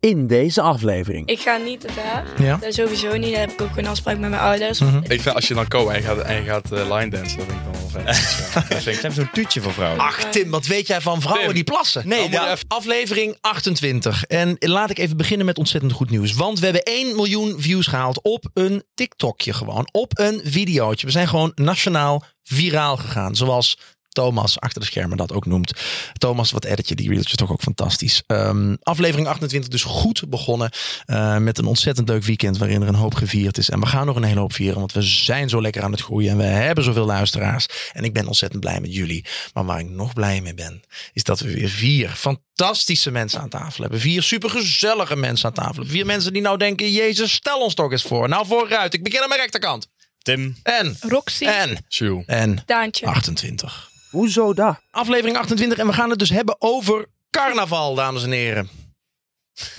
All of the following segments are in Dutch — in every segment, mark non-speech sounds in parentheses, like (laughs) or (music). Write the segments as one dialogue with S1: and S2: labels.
S1: in deze aflevering.
S2: Ik ga niet te ver.
S3: Ja.
S2: Dat sowieso niet. Dan heb ik ook een afspraak met mijn ouders.
S4: Ik vind als je dan co en je gaat, en je gaat eh, line dansen, dat vind ik dan
S3: (laughs)
S4: wel vet. Ja, dat vind ik-
S5: Ze hebben zo'n tuutje voor vrouwen.
S3: Ach Tim, wat weet jij van vrouwen
S4: Tim.
S3: die plassen?
S5: Nee,
S3: Nou, moet
S5: nou-
S3: je even- aflevering 28. En laat ik even beginnen met ontzettend goed nieuws. Want we hebben 1 miljoen views gehaald op een TikTokje gewoon. Op een videootje. We zijn gewoon nationaal viraal gegaan. Zoals Thomas achter de schermen dat ook noemt. Thomas, wat edit je die reeltjes toch ook fantastisch. Ehm, aflevering 28 dus goed begonnen. eh, met een ontzettend leuk weekend waarin er een hoop gevierd is. En we gaan nog een hele hoop vieren. Want we zijn zo lekker aan het groeien. En we hebben zoveel luisteraars. En ik ben ontzettend blij met jullie. Maar waar ik nog blij mee ben is dat we weer vier fantastische mensen aan tafel hebben. Vier supergezellige mensen aan tafel. Vier mensen die nou denken, jezus, stel ons toch eens voor. Nou, vooruit. Ik begin aan mijn rechterkant.
S5: Tim.
S3: En,
S2: Roxy,
S3: en,
S4: Sjoel.
S3: en
S2: Eh, Daantje.
S3: 28.
S1: Hoezo dat?
S3: Aflevering 28 en we gaan het dus hebben over carnaval, dames en heren.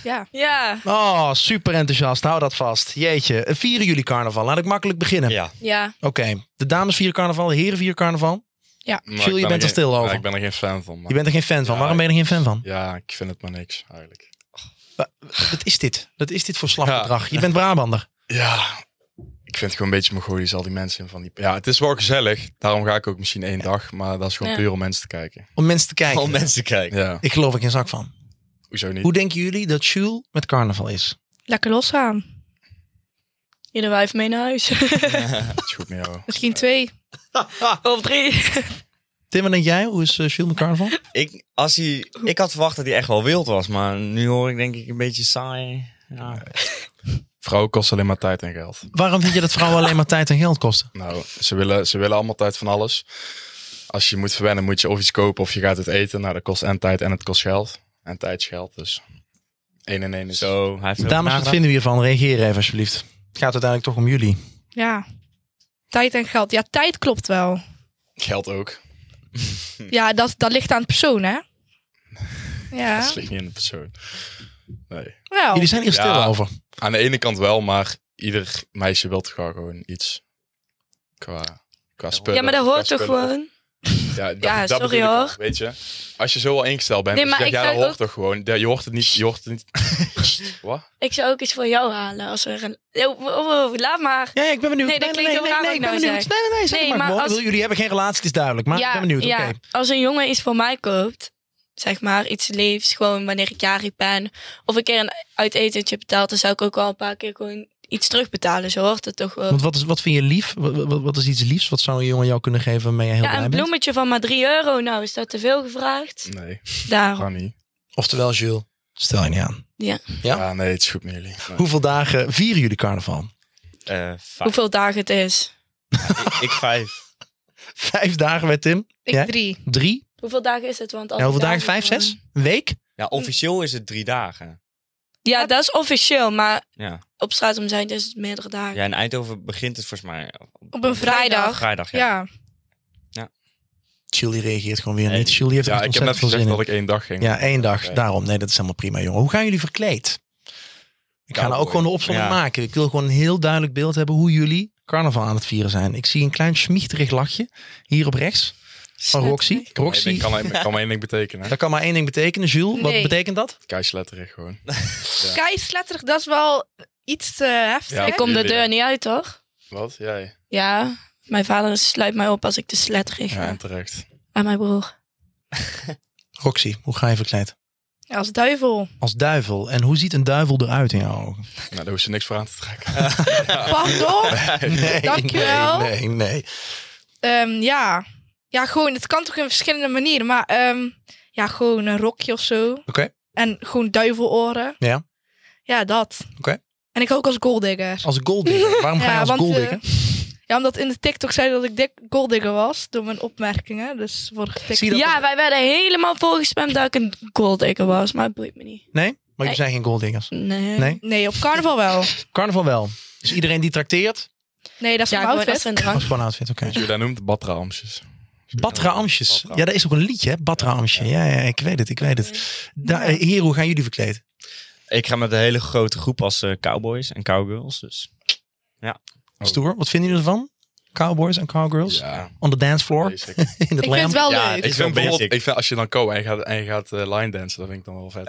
S2: Ja. ja.
S3: Oh, super enthousiast. Hou dat vast. Jeetje, eh, vieren jullie carnaval? Laat ik makkelijk beginnen.
S5: Ja.
S2: Ja.
S3: Oké, de dames vieren carnaval, de heren vieren carnaval.
S4: Maar
S3: Sjoel,
S4: ik
S3: je
S4: ben
S3: bent er
S4: geen-
S3: stil
S4: ja,
S3: over.
S4: ik ben er geen fan van. maar-
S3: Je bent er geen fan van.
S4: Ja,
S3: Waarom ben je er geen fan van?
S4: Ja, ik vind het maar niks eigenlijk.
S3: Wat is dit? Dat is dit voor slaggedrag? Je bent Brabander.
S4: Ja, ik vind het gewoon een beetje mogolisch, al die mensen in van die... Ja, het is wel gezellig, daarom ga ik ook misschien één dag, maar dat is gewoon
S2: Ja.
S4: puur om mensen te kijken.
S3: Om mensen te kijken.
S5: Al mensen kijken.
S4: Ja,
S3: Ik geloof er geen zak van.
S4: hoezo niet?
S3: Hoe denken jullie dat Jules met carnaval is?
S2: Lekker losgaan. Ieder wijf mee naar huis. (laughs)
S4: Het is goed met jou.
S2: Misschien twee. of drie.
S3: Tim, wat denk jij? Hoe is eh, Jules met carnaval?
S5: Ik, als hij, ik had verwacht dat hij echt wel wild was, maar nu hoor ik denk ik een beetje saai. Ja.
S4: Vrouwen kosten alleen maar tijd en geld.
S3: Waarom vind je dat vrouwen alleen maar tijd en geld kosten?
S4: Nou, ze willen, ze willen allemaal tijd van alles. Als je moet verwennen, moet je of iets kopen of je gaat het eten. Nou, dat kost en tijd en het kost geld. En tijd is geld, dus één en één is...
S5: Zo, hij heeft
S3: Dames,
S5: er ook
S3: wat
S5: nagedacht.
S3: vinden we hiervan? Reageer even alsjeblieft. Het gaat uiteindelijk toch om jullie.
S2: Ja. Tijd en geld. Ja, tijd klopt wel.
S4: Geld ook.
S2: Ja, dat, dat ligt aan de persoon, hè?
S4: Dat
S2: Ja.
S4: ligt niet in de persoon. Nee.
S2: Wel.
S3: Jullie zijn hier stil
S4: Ja.
S3: over.
S4: Aan de ene kant wel, maar ieder meisje wil toch wel gewoon iets qua, qua spullen.
S2: Ja, maar dat
S4: qua
S2: hoort toch
S4: spullen.
S2: gewoon?
S4: Ja, dat,
S2: Ja,
S4: dat
S2: sorry
S4: bedoel ik wel,
S2: hoor.
S4: Weet je, als je zo al ingesteld bent,
S2: Nee,
S4: dus
S2: maar
S4: ja,
S2: ik
S4: ja,
S2: zou
S4: dat hoort
S2: ook-
S4: toch gewoon. Ja, je hoort het niet. Je hoort het (laughs) niet. Wat?
S2: Ik zou ook iets voor jou halen als er een. Oh, oh, oh, laat maar.
S3: Ja, ja, ik ben benieuwd.
S2: Nee, dat klinkt heel raar
S3: ik
S2: wat
S3: ben
S2: ik nou
S3: benieuwd.
S2: zeg.
S3: Nee, nee, nee, zeg
S2: Nee,
S3: maar,
S2: maar
S3: gewoon. Ik
S2: als-
S3: bedoel, Jullie hebben geen relatie, het is duidelijk. Maar
S2: ja,
S3: ik ben benieuwd.
S2: ja.
S3: Oké.
S2: Als een jongen iets voor mij koopt, zeg maar iets liefs, gewoon wanneer ik jarig ben, of een keer een uitetentje betaalt, dan zou ik ook wel een paar keer gewoon iets terugbetalen. Zo hoort het toch wel.
S3: Want wat, is, wat vind je lief? Wat, wat, wat is iets liefs? Wat zou een jongen jou kunnen geven waarmee je heel
S2: Ja,
S3: blij
S2: een
S3: bent?
S2: bloemetje van maar 3 euro, nou is dat te veel gevraagd?
S4: Nee,
S2: Daarom.
S4: gewoon niet.
S3: Oftewel, Jules, stel je niet aan. Ja.
S4: Ja, nee, het is goed met jullie. Nee.
S3: Hoeveel dagen vieren jullie carnaval? (laughs)
S5: Eh, vijf.
S2: Hoeveel dagen het is?
S5: Ik vijf.
S3: Vijf dagen bij Tim.
S6: Ik
S3: Ja?
S6: drie.
S3: Drie.
S2: Hoeveel dagen is het? Want als
S3: En hoeveel
S2: het
S3: dagen? Vijf,
S2: gewoon-
S3: zes? Een week?
S5: Ja, officieel is het drie dagen.
S2: Ja, dat is officieel, maar
S5: Ja.
S2: op straat om zijn is het meerdere dagen.
S5: ja, in Eindhoven begint het volgens mij op,
S2: Op een vrijdag.
S5: vrijdag. Ja.
S6: Ja.
S3: Jules die reageert gewoon weer
S5: Nee.
S3: niet. Jules die heeft
S4: Ja,
S3: echt
S4: ik heb net
S3: ontzettend veel zin
S4: gezegd dat
S3: in.
S4: ik één dag ging.
S3: Ja, één dag.
S4: Oké.
S3: Daarom. Nee, dat is helemaal prima, jongen. Hoe gaan jullie verkleed? Ik ga nou ook
S5: Cowboy.
S3: gewoon de opzomming
S5: Ja.
S3: maken. Ik wil gewoon een heel duidelijk beeld hebben hoe jullie carnaval aan het vieren zijn. Ik zie een klein schmiechterig lachje hier op rechts van Roxy.
S4: Nee,
S3: Roxy,
S4: ik kan, ik kan maar één ding betekenen.
S3: (laughs)
S4: hè.
S3: dat kan maar één ding betekenen. Jules, wat
S6: Nee.
S3: betekent dat?
S4: Keisletterig gewoon.
S6: Keisletterig, dat is wel iets te heftig.
S4: Ja.
S2: Ik kom de
S4: Jullie, ja.
S2: deur niet uit, toch?
S4: Wat? Jij?
S2: Ja, mijn vader sluit mij op als ik de slet richt
S4: Ja, en terecht.
S2: aan mijn broer.
S3: Roxy, hoe ga je verkleed?
S6: Als duivel.
S3: Als duivel. En hoe ziet een duivel eruit in jouw ogen?
S4: Nou, daar hoef je niks voor aan te trekken. (laughs)
S5: (laughs)
S6: Pardon?
S3: (laughs) Nee,
S6: Dankjewel.
S3: Nee, nee, nee.
S6: Ehm, ja. Ja, gewoon, het kan toch in verschillende manieren. Maar ehm, ja, gewoon een rokje of zo.
S3: Oké.
S6: En gewoon duiveloren.
S3: Ja.
S6: Ja, dat.
S3: Oké.
S6: En ik ook als golddigger.
S3: Als golddigger. Waarom ga je
S6: Ja,
S3: als
S6: want, eh,
S3: golddigger?
S6: Ja, omdat in de TikTok zei dat ik dik golddigger was. Door mijn opmerkingen. Dus vorige TikTok.
S3: Zie je dat?
S2: ja, wij werden helemaal volgespamd dat ik een golddigger was, maar het boeit me niet.
S3: Nee? Maar
S2: Nee.
S3: jullie zijn geen golddiggers.
S2: Nee.
S3: Nee?
S6: Nee, op carnaval wel.
S3: Carnaval wel. Dus iedereen die trakteert,
S6: Nee, dat is
S2: Ja,
S6: mijn
S2: gewoon
S6: outfit.
S2: even een
S3: dat
S2: drank.
S3: is gewoon een outfit. Oké.
S4: Weet je hoe dat noemt? Batraamsjes.
S3: Batra Amsjes. Ja, dat is ook een liedje, hè? Batra Amsje. Ja, ja, ik weet het, ik weet het. Da eh, Hier, hoe gaan jullie verkleed?
S5: Ik ga met een hele grote groep als eh, cowboys en cowgirls. Dus
S3: Stoer, wat vinden jullie ervan? cowboys en cowgirls?
S4: Ja,
S3: On the dance floor?
S4: nee,
S3: (laughs)
S4: zeker.
S3: In het
S6: Ik vind het
S3: lamp?
S6: wel
S5: Ja,
S6: leuk.
S5: ik
S4: Ik vind,
S5: vind
S4: bijvoorbeeld,
S5: basic.
S4: ik vind als je dan co en je gaat, en je gaat eh, line dansen, dat vind ik dan wel vet.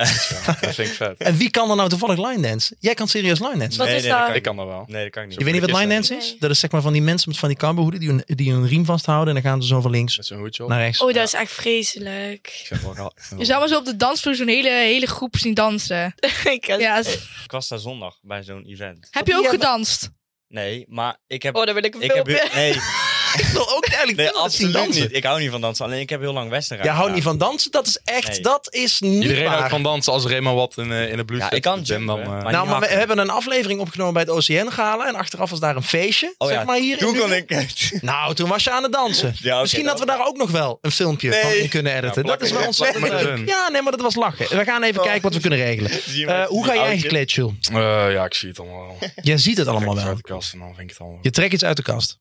S4: dat vind ik vet.
S3: En wie kan er nou toevallig line dance? Jij kan serieus line dance.
S2: Wat
S5: Nee,
S2: is
S5: nee,
S2: dat?
S5: dat
S4: Ik kan dat wel.
S5: Nee, dat kan ik niet.
S3: Je weet niet wat line dance is? Dat is zeg maar van die mensen met van die cowboyhoeden die hun, die hun riem vasthouden en dan gaan ze zo van links
S4: Met zo'n hoedje op.
S3: naar rechts.
S2: (laughs) Oh, dat is echt vreselijk. (laughs)
S4: Ik vind het wel gaaf. Ik vind
S6: Je
S4: het wel-
S6: zou maar zo op de dansvloer zo'n hele, hele groep zien dansen.
S2: Ik heb-
S6: Ja, is-
S5: Ik was daar zondag bij zo'n event.
S6: heb je ook
S2: Eh, Ja, maar-
S6: gedanst?
S5: Nee, maar ik heb...
S2: Oh, daar wil ik een
S5: ik heb
S2: filmpje.
S5: heel- nee,
S3: (laughs) Ik wil ook eigenlijk
S5: nee
S3: wel dat zien
S5: absoluut
S3: dansen.
S5: niet. Ik hou niet van dansen. Alleen ik heb heel lang western
S3: Jij houdt niet van dansen? Dat is echt,
S5: Nee.
S3: dat is niet
S4: Iedereen
S3: waar.
S4: houdt van dansen als er eenmaal wat in, eh, in het bloed
S5: Ja,
S4: zit.
S5: ik kan
S4: ben dan,
S5: jumpen,
S4: eh,
S5: maar-
S3: nou,
S5: niet
S3: maar we
S5: hakken.
S3: hebben een aflevering opgenomen bij het OCN-gala. En achteraf was daar een feestje,
S5: Oh
S3: zeg
S5: ja,
S3: maar hier. in
S5: Toen kon
S3: Utrecht.
S5: ik... (laughs) Nee,
S3: Nou, toen was je aan het
S4: (laughs)
S3: dansen.
S5: Ja, oké,
S3: Misschien dat we
S5: dat-
S3: daar ook nog wel een filmpje
S5: Nee.
S3: van in kunnen editen.
S4: Ja,
S3: dat is wel
S4: plak-
S3: ontzettend
S4: plak maar
S3: leuk.
S4: erin.
S3: Ja, nee, maar dat was lachen. We gaan even
S4: Oh.
S3: kijken wat we kunnen regelen.
S5: (laughs) Zie je
S3: Eh,
S5: met
S3: hoe
S5: die
S3: ga jij
S5: oudje?
S3: gekleed, Jules?
S4: eh, ja, ik zie het allemaal wel.
S3: Jij ziet het allemaal
S4: Kijk eens
S3: wel.
S4: uit de kast en dan vind ik het allemaal
S3: Je trekt iets uit de kast.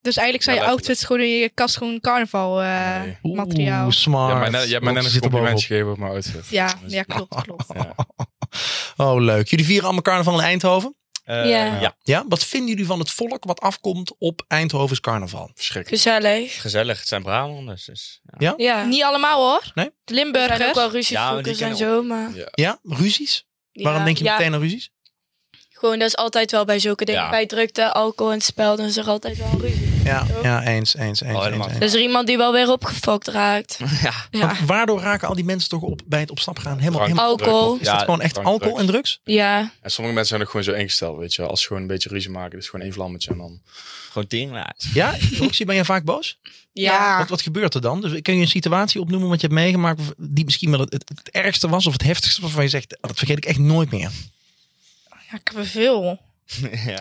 S6: Dus eigenlijk zijn
S4: Ja,
S3: Nou,
S6: je
S4: letterlijk.
S6: outfits gewoon in je kast gewoon carnaval eh,
S4: Nee.
S3: Oeh,
S6: materiaal.
S3: smart.
S4: Ja, maar net, je hebt mij net
S3: Rob
S4: een
S3: zit er
S4: compliment
S3: bovenop.
S4: gegeven op mijn outfit.
S6: Ja,
S4: Dus-
S6: ja, klopt, klopt.
S3: Oh, leuk. Jullie vieren allemaal carnaval in Eindhoven.
S5: Eh,
S2: Ja.
S5: ja,
S3: Ja? Wat vinden jullie van het volk wat afkomt op Eindhovens carnaval?
S4: Verschrikkelijk.
S2: Gezellig.
S5: gezellig. Het zijn Brabanders, dus... ja.
S3: Ja?
S2: (laughs) Ja.
S6: Niet allemaal hoor.
S3: Nee?
S2: Er
S6: De
S2: zijn ook
S6: Limburgers.
S2: wel
S5: Ja, maar die
S2: ruzievoekers en
S5: kennen
S2: zo, maar...
S3: Ja? Ruzies? Waarom
S2: ja.
S3: denk je
S2: Ja,
S3: meteen aan ruzies?
S2: Gewoon, dat is altijd wel bij zulke dingen.
S5: Ja.
S2: Bij drukte, alcohol en spel, dan is er altijd wel ruzie.
S3: Ja, ja eens, eens, eens.
S5: Oh,
S3: eens,
S5: helemaal.
S3: eens.
S2: Dus er iemand die wel weer opgefokt raakt.
S5: Ja.
S2: Ja.
S3: Want waardoor raken al die mensen toch op bij het op stap gaan? Helemaal,
S4: Drank.
S3: helemaal
S2: Alcohol.
S3: is dat gewoon echt
S4: drank,
S3: alcohol en
S4: drugs.
S3: drugs?
S2: Ja.
S4: En sommige mensen zijn ook gewoon zo ingesteld, weet je. wel. Als ze gewoon een beetje ruzie maken, dus gewoon één vlammetje en dan...
S5: Gewoon teringlaars.
S3: Ja, Roxy, ben je vaak boos?
S6: Ah.
S2: Ja.
S3: Wat, wat gebeurt er dan? Dus kun je een situatie opnoemen wat je hebt meegemaakt die misschien wel het, het, het ergste was of het heftigste waarvan je zegt, "Ah, dat vergeet ik echt nooit meer.
S6: Oh. Ja, ik heb er veel.
S5: (laughs) ja.
S3: Ah,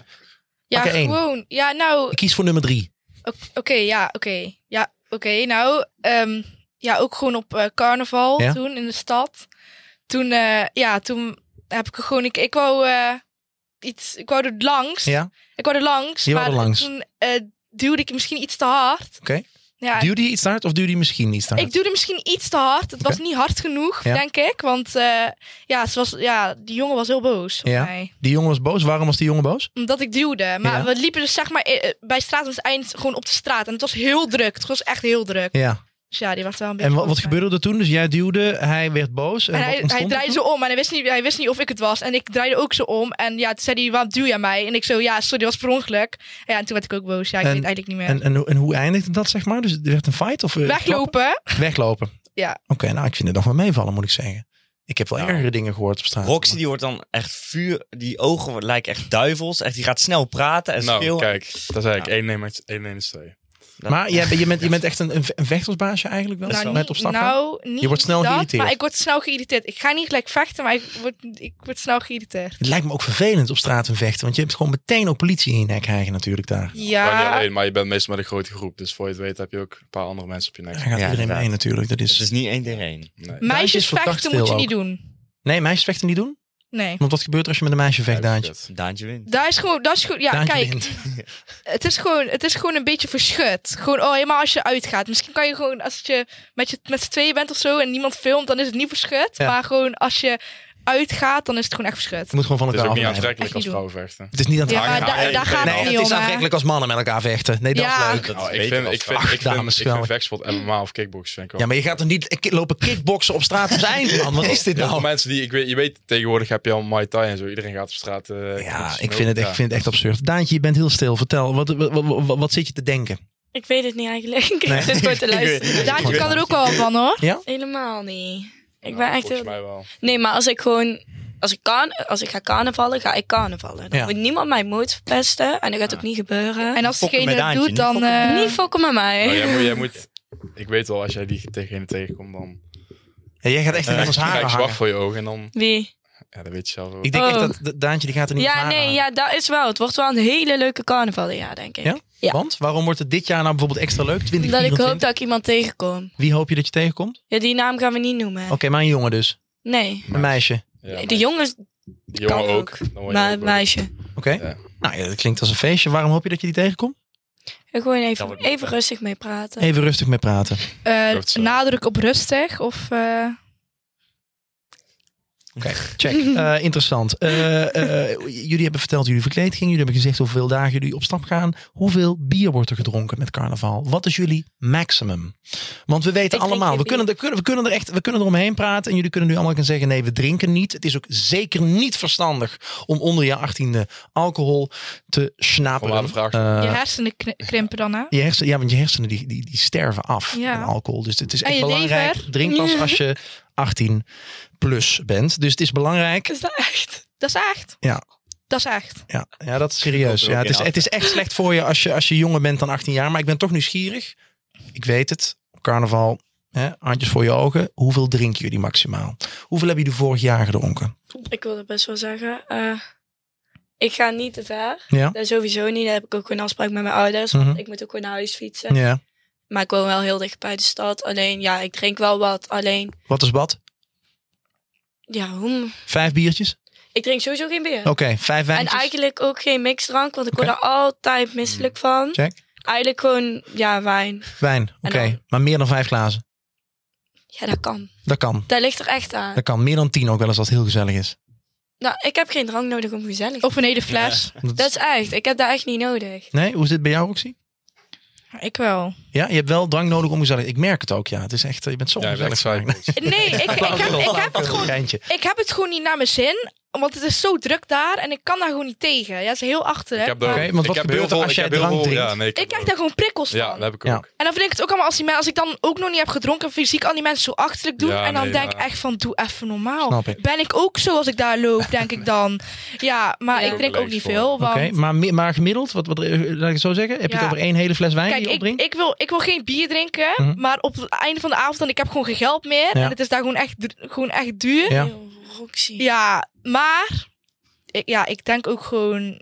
S6: Ja,
S3: Pak er één.
S6: gewoon. Ja, nou,
S3: Ik kies voor nummer drie.
S6: O- Oké, ja, oké. Ja, oké. nou, ehm, ja, ook gewoon op eh, carnaval
S3: Ja.
S6: toen in de stad. Toen, eh, ja, toen heb ik gewoon, ik, ik wou eh, iets, ik wou er langs.
S3: Ja?
S6: Ik wou er langs.
S3: Je wou
S6: maar
S3: er langs.
S6: Toen eh, duwde ik misschien iets te hard.
S3: Oké.
S6: Ja,
S3: Duwde je iets te hard of duwde je misschien niet te hard?
S6: ik duwde misschien iets te hard. Het was niet hard genoeg,
S3: Ja.
S6: denk ik. Want eh, ja, ze was, ja, die jongen was heel boos op
S3: Ja.
S6: mij.
S3: Die jongen was boos. Waarom was die jongen boos?
S6: Omdat ik duwde. Maar
S3: Ja.
S6: we liepen dus zeg maar eh, eh, bij straat aan het eind gewoon op de straat. En het was heel druk. Het was echt heel druk.
S3: Ja.
S6: Dus ja, die was wel een beetje.
S3: En wat, wat
S6: boos op mij.
S3: gebeurde er toen? Dus jij duwde, hij werd boos. En,
S6: En
S3: wat
S6: hij,
S3: ontstond
S6: hij
S3: er
S6: draaide
S3: toen?
S6: zo om en hij wist, niet, hij wist niet of ik het was. En ik draaide ook zo om. En ja, toen zei hij, waarom duw jij mij? En ik zo, ja, sorry, dat was per ongeluk. En ja, en toen werd ik ook boos. Ja, ik
S3: En-
S6: weet het eigenlijk niet meer.
S3: En, en, hoe- en hoe eindigde dat, zeg maar? Dus er werd een fight? Of, eh,
S6: Weglopen.
S3: klappen? Weglopen.
S6: Ja.
S3: Oké, nou, ik vind het nog wel meevallen, moet ik zeggen. Ik heb wel
S5: Ja.
S3: ergere dingen gehoord op straat.
S5: Roxy die wordt dan echt vuur. Die ogen lijken echt duivels. Echt, die gaat snel praten en
S4: nou,
S5: schreeuwen.
S4: kijk, dat zei ik. Eén neem het- één neem is twee.
S3: Maar jij, bent- je,
S5: (laughs)
S3: bent, je bent echt een, een ve- een vechtersbaasje eigenlijk wel?
S6: Nou,
S3: met
S6: niet-
S3: op stap gaan?
S6: nou, niet
S3: Je wordt snel
S6: dat,
S3: geïrriteerd.
S6: Maar ik word snel geïrriteerd. Ik ga niet gelijk vechten, maar ik word, ik word snel geïrriteerd.
S3: Het lijkt me ook vervelend op straat een vechten. Want je hebt gewoon meteen ook politie in je nek krijgen natuurlijk daar.
S4: Maar, niet
S6: Ja,
S4: alleen, maar je bent meestal met een grote groep. Dus voor je het weet heb je ook een paar andere mensen op je nek.
S3: Daar gaat
S5: Ja,
S3: iedereen mee
S5: inderdaad.
S3: natuurlijk. Dat
S5: Dus Het
S3: is...
S5: is niet één tegen één.
S4: Nee.
S6: meisjes
S3: is verdacht
S6: vechten moet je
S3: veel
S6: niet
S3: ook.
S6: doen.
S3: Nee, meisjes vechten niet doen.
S6: Nee.
S3: Want wat gebeurt er als je met een meisje vecht, Daantje?
S5: Daantje wint.
S6: Daar is gewoon, dat is gewoon, ja,
S3: Daantje
S6: kijk,
S3: wint.
S6: het is, gewoon, het is gewoon een beetje verschut. Gewoon, oh, helemaal als je uitgaat. Misschien kan je gewoon, als je met, je, met z'n tweeën bent of zo en niemand filmt, dan is het niet verschut.
S3: Ja.
S6: Maar gewoon als je uitgaat, dan is het gewoon echt verschut.
S3: Je moet gewoon van
S4: Het is
S3: elkaar
S4: ook niet
S3: afblijven.
S4: aantrekkelijk als
S6: Echt niet doen.
S4: vrouwen vechten.
S3: Het is niet aan het
S6: Ja,
S3: hangen.
S6: maar da-
S5: ja,
S6: daar
S5: ik
S6: gaat
S5: weet
S6: het
S3: Nee,
S6: niet
S3: het
S6: om.
S3: is
S6: hè.
S3: aantrekkelijk als mannen met elkaar vechten. Nee, dat
S6: Ja.
S3: is leuk.
S5: Dat
S4: Nou,
S5: is
S4: ik
S5: beter
S4: vind,
S5: als
S4: ik vind,
S5: vrouw.
S4: ik vind,
S3: dames,
S4: ik vind
S3: wel.
S4: vechtsport, MMA of kickboksen vind ik wel.
S3: Ja, maar je gaat er niet ki- lopen kickboksen op straat op zijn eind, man. Wat is dit
S4: Heel veel
S3: nou?
S4: mensen die, ik weet, je weet, tegenwoordig heb je al Muay Thai en zo. Iedereen gaat op straat. eh,
S3: Ja,
S4: kickboksen.
S3: ik vind het echt,
S4: Ja.
S3: ik vind het echt absurd. Daantje, je bent heel stil. Vertel, wat, wat, wat, wat- wat zit je te denken?
S2: Ik weet (laughs) het niet eigenlijk.
S3: Nee.
S2: ik zit gewoon te luisteren.
S6: Daantje kan er ook wel van hoor.
S2: Helemaal niet. Ik ben
S4: Nou,
S2: echt...
S4: Volgens
S2: heel-
S4: mij wel.
S2: Nee, maar als ik gewoon... Als ik, kan, als ik ga carnavallen, ga ik carnavallen. Dan
S3: Ja.
S2: moet niemand mijn moed verpesten. En dat gaat ook niet gebeuren.
S6: En als
S5: Fokken
S6: degene
S5: met
S6: het
S5: Daantje,
S6: doet, dan...
S5: niet fokken
S6: eh,
S2: niet fokken met mij.
S3: Oh,
S4: Nou, jij, moet, jij moet, ik weet wel, als jij die degene tegenkomt, dan
S3: Ja, jij gaat echt in iemands
S4: krijg
S3: haren
S4: je Eh, zwart
S3: hangen.
S4: voor je ogen en dan,
S2: Wie?
S4: ja, dat weet je zelf ook.
S3: Ik denk echt
S2: Oh.
S3: dat dat Daantje die gaat er niet
S2: Ja, nee, ja, dat is wel. Het wordt wel een hele leuke carnaval dit jaar, denk ik.
S3: Ja?
S2: ja.
S3: Want waarom wordt het dit jaar nou bijvoorbeeld extra leuk?
S2: Dat ik
S3: 2024?
S2: hoop dat ik iemand tegenkom.
S3: Wie hoop je dat je tegenkomt?
S2: Ja, die naam gaan we niet noemen.
S3: Oké, maar een jongen dus.
S2: Nee.
S3: Een meisje.
S4: Ja,
S2: De jongens,
S4: die jongen
S2: kan
S4: ook.
S2: ook.
S4: Dan word je
S2: maar
S4: ook
S2: het meisje.
S3: Oké.
S4: Ja.
S3: Nou ja, dat klinkt als een feestje. Waarom hoop je dat je die tegenkomt?
S2: Gewoon
S5: Dat
S2: even,
S5: wordt mooi.
S2: even rustig mee praten.
S3: Even rustig mee praten.
S6: eh,
S4: Dat, eh,
S6: nadruk op rustig of... eh,
S3: (laughs) Check. Eh, interessant. Eh, eh, jullie hebben verteld hoe jullie verkleed gingen. Jullie hebben gezegd hoeveel dagen jullie op stap gaan. Hoeveel bier wordt er gedronken met carnaval? Wat is jullie maximum? Want we weten
S2: drink
S3: allemaal,
S2: geen
S3: we
S2: bier.
S3: kunnen, er, kunnen, we kunnen er echt we kunnen er omheen praten. En jullie kunnen nu allemaal gaan zeggen, nee, we drinken niet. Het is ook zeker niet verstandig om onder je achttiende alcohol te schnappen.
S4: Formale vraag.
S6: je hersenen kn- krimpen dan, hè?
S3: Je hersenen, ja, want je hersenen die, die, die sterven af
S6: Ja.
S3: aan alcohol. Dus het is
S6: En
S3: echt
S6: je
S3: belangrijk.
S6: lever.
S3: Drink pas
S6: (laughs)
S3: als je 18 plus bent. Dus het is belangrijk.
S2: Is dat echt?
S6: Dat is echt.
S3: Ja.
S6: Dat is echt.
S3: Ja, ja dat is serieus.
S5: Ik hoop er
S3: Ja,
S5: ook
S3: het, is,
S5: in af.
S3: het is echt slecht voor je als, je als je jonger bent dan 18 jaar. Maar ik ben toch nieuwsgierig. Ik weet het. Op carnaval, hè, handjes voor je ogen. Hoeveel drinken jullie maximaal? Hoeveel hebben jullie vorig jaar gedronken?
S2: Ik wil het best wel zeggen. eh, ik ga niet het haar.
S3: Ja.
S2: Dat sowieso niet. Daar heb ik ook gewoon afspraak met mijn ouders. Want
S3: Mhm.
S2: ik moet ook gewoon naar huis fietsen.
S3: Ja.
S2: Maar ik woon wel heel dicht bij de stad. Alleen, ja, ik drink wel wat. Alleen,
S3: Wat is wat?
S2: ja, hoe...
S3: Vijf biertjes?
S2: Ik drink sowieso geen bier.
S3: Oké, vijf
S2: En
S3: Oh, wijntjes.
S2: eigenlijk ook geen mixdrank, want ik word
S3: Oké. Mm.
S2: er altijd misselijk van.
S3: Check.
S2: Eigenlijk gewoon, ja, wijn.
S3: Wijn, oké.
S2: dan-
S3: Maar meer dan vijf glazen.
S2: Ja, dat kan.
S3: Dat kan.
S2: Dat ligt er echt aan.
S3: Dat kan. Meer dan tien ook wel eens als het heel gezellig is.
S2: Nou, ik heb geen drank nodig om gezellig te
S6: Of een hele fles.
S3: Dat
S2: Dat is echt. Ik heb dat echt niet nodig.
S3: Nee, hoe is dit bij jou, Roxy?
S6: Ik wel.
S3: Ja, je hebt wel dwang nodig om gezellig. Ik merk het ook, ja. Het is echt, eh, je bent zo
S4: Ja, je
S3: ongezellig.
S4: bent saai.
S3: (laughs) vandaag.
S6: Nee, ik, ik, heb, ik, heb het gewoon,
S3: Geintje.
S6: ik heb het gewoon niet naar mijn zin. Want het is zo druk daar en ik kan daar gewoon niet tegen. Ja, dat is heel achterlijk.
S4: Ik heb daar-
S3: Oké, want
S4: ik
S3: wat
S4: heb
S3: gebeurt
S4: heel
S3: er
S4: veel-
S3: als
S4: ik
S3: jij
S4: heb heel
S3: drank
S4: veel-
S3: drinkt?
S4: Ja, nee, ik
S6: ik
S4: heb
S6: krijg daar gewoon prikkels van.
S4: Ja, dat heb ik
S3: Ja.
S4: ook.
S6: En dan vind ik het ook allemaal als, die men- als ik dan ook nog niet heb gedronken en fysiek al die mensen zo achterlijk doen.
S4: Ja,
S6: en dan
S4: nee,
S6: denk ik
S4: ja.
S6: echt van doe even normaal.
S3: Snap ik.
S6: Ben ik ook zo als ik daar loop, denk ik dan. Ja, maar
S2: Ja.
S6: ik drink ook niet
S4: Leesvoor.
S6: veel.
S3: Oké,
S6: Want
S3: maar, mi- maar gemiddeld, wat, wat, eh, laat ik het zo zeggen, heb je
S6: Ja.
S3: het over één hele fles wijn
S6: kijk,
S3: die je
S6: ik,
S3: opdrinkt?
S6: ik, wil, ik wil geen bier drinken.
S3: Mhm.
S6: Maar op het einde van de avond, en ik heb gewoon geen geld meer.
S3: Ja.
S6: En het is daar gewoon echt, du- gewoon echt duur. Ja,
S3: Ja.
S2: Heel Roxy.
S6: maar ik, ja, ik denk ook gewoon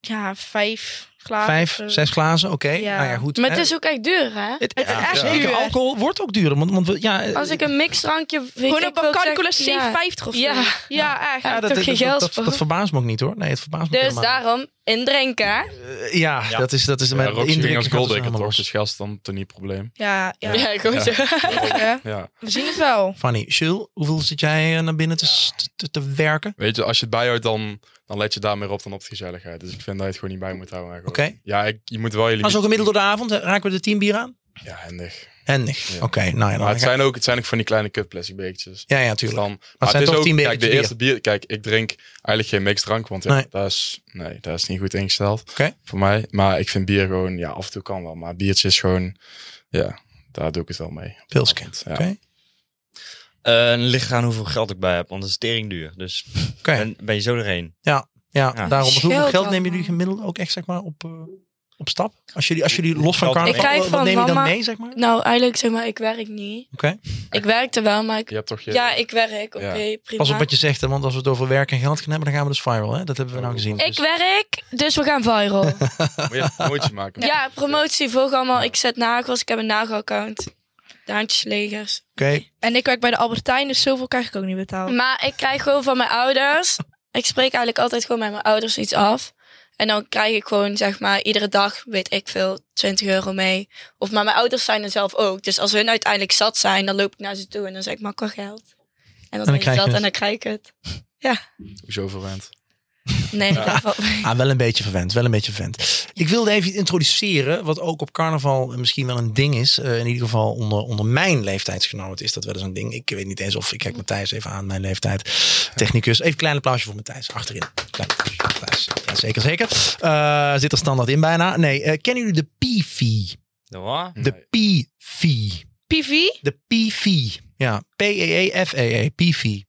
S6: ja, vijf glazen.
S3: Vijf,
S6: of zo.
S3: zes glazen, oké.
S6: dus, eh, Ja.
S3: Nou ja, goed.
S2: Maar
S3: Eh,
S2: het is ook echt duur, hè?
S3: het-
S6: het is
S3: ja,
S6: echt
S3: zeker,
S6: duur.
S3: alcohol wordt ook duurder. Want, want we- ja, eh,
S2: Als ik een mixdrankje... weet
S6: Gewoon
S2: ik
S6: een
S2: wel, ik zeg-
S6: Coca-Cola
S2: ja.
S6: 750 of zo.
S2: Ja.
S6: ja echt.
S3: ja,
S2: heb
S3: dat,
S2: toch
S3: dat,
S2: geen
S3: dat-
S2: geld
S3: dat,
S2: voor?
S3: dat verbaast me ook niet hoor. Nee, het verbaast me
S2: Dus
S3: helemaal niet.
S2: daarom, indrinken, hè?
S3: Eh, Ja, dat is, dat is
S4: Ja,
S3: mijn
S4: Roxy ging
S3: indruk.
S4: als
S3: gaat dus
S4: golddicker
S3: helemaal los.
S4: toch? Dus geld is dan toch niet probleem.
S6: Ja, ja.
S2: Ja, ik hoor zo.
S6: hè?
S4: Ja.
S6: We zien het wel.
S3: Fanny, Jules, hoeveel zit jij eh, naar binnen te, s- te, te werken?
S4: Weet je, als je het bijhoudt, dan, dan let je daar meer op dan op de gezelligheid. Dus ik vind dat je het gewoon niet bij moet houden. eigenlijk.
S3: Oké.
S4: Ja, ik, je moet wel je
S3: Maar zo
S4: limiet...
S3: gemiddeld door de avond eh, raken we de tien bier aan?
S4: Ja, handig.
S3: Handig.
S4: Ja.
S3: Oké, nou ja, dan
S4: Maar het
S3: ga ik-
S4: zijn ook, het zijn ook van die kleine kut plastic bekertjes.
S3: Ja, ja,
S4: Dus
S3: tuurlijk.
S4: Dan, maar
S3: zijn
S4: het is
S3: toch tien
S4: ook, kijk, de
S3: bekertjes
S4: eerste bier. Kijk, ik drink eigenlijk geen mixdrank, want ja,
S3: Nee.
S4: dat, is, nee, dat is niet goed ingesteld
S3: Oké.
S4: voor mij. Maar ik vind bier gewoon, ja, af en toe kan wel. Maar biertje is gewoon, ja, daar doe ik het wel mee.
S3: Pilske.
S4: Ja.
S3: Oké.
S5: Eh, en ligt eraan hoeveel geld ik bij heb, want het is tering duur.
S3: (laughs)
S5: Dus
S3: Oké.
S5: dan ben je zo erheen.
S3: Ja,
S5: Ja.
S3: daarom. Want hoeveel
S2: Scheelt
S3: geld
S2: dat,
S3: nemen jullie
S2: man.
S3: gemiddeld ook echt zeg maar op, eh, op stap? Als jullie, als jullie los van
S5: Ik
S3: carnaval, eh,
S2: krijg
S3: wat
S2: van
S3: neem je dan
S2: mama-
S3: mee zeg maar? Oké.
S2: Nou, eigenlijk zeg maar, ik werk niet. Ik werkte wel, maar ik...
S4: Je hebt toch je...
S2: Ja, ik werk. Oké,
S4: Ja.
S2: prima.
S3: Pas op wat je zegt, hè, want als we het over werk en geld gaan hebben, dan gaan we dus viral. Hè? Dat hebben we nou gezien.
S2: Ik werk, dus we gaan viral.
S4: Moet je even een mootje maken.
S2: (laughs) ja, promotie, volg allemaal. Ik zet nagels, ik heb een nagelaccount. De handjeslegers.
S3: Oké,
S6: En ik werk bij de Albertijn, dus zoveel krijg ik ook niet betaald.
S2: Maar ik krijg gewoon van mijn ouders. Ik spreek eigenlijk altijd gewoon met mijn ouders iets af. En dan krijg ik gewoon, zeg maar, iedere dag, weet ik veel, 20 euro mee. Of maar mijn ouders zijn er zelf ook. Dus als hun uiteindelijk zat zijn, dan loop ik naar ze toe en dan zeg ik, maar qua geld. En dan, ben
S3: krijg
S2: ik
S3: je
S2: zat
S3: het.
S2: en dan krijg ik het.
S4: Hoezo verwend?
S2: Nee, dat valt mee.
S3: ah, wel een beetje verwend, wel een beetje verwend. Ik wilde even iets introduceren, wat ook op carnaval misschien wel een ding is. eh, in ieder geval onder, onder mijn leeftijdsgenoten is dat wel eens een ding. Ik weet niet eens of, ik kijk Matthijs even aan, mijn leeftijd. Technicus. Even een klein applausje voor Matthijs, achterin. Klein applausje voor Matthijs. Ja, zeker, zeker. Eh, zit er standaard in bijna. Nee, eh, kennen jullie de PFI?
S5: De waar?
S3: De PFI.
S6: PV?
S3: De PFI. Ja, E P-E-E-F-E-E. PFI.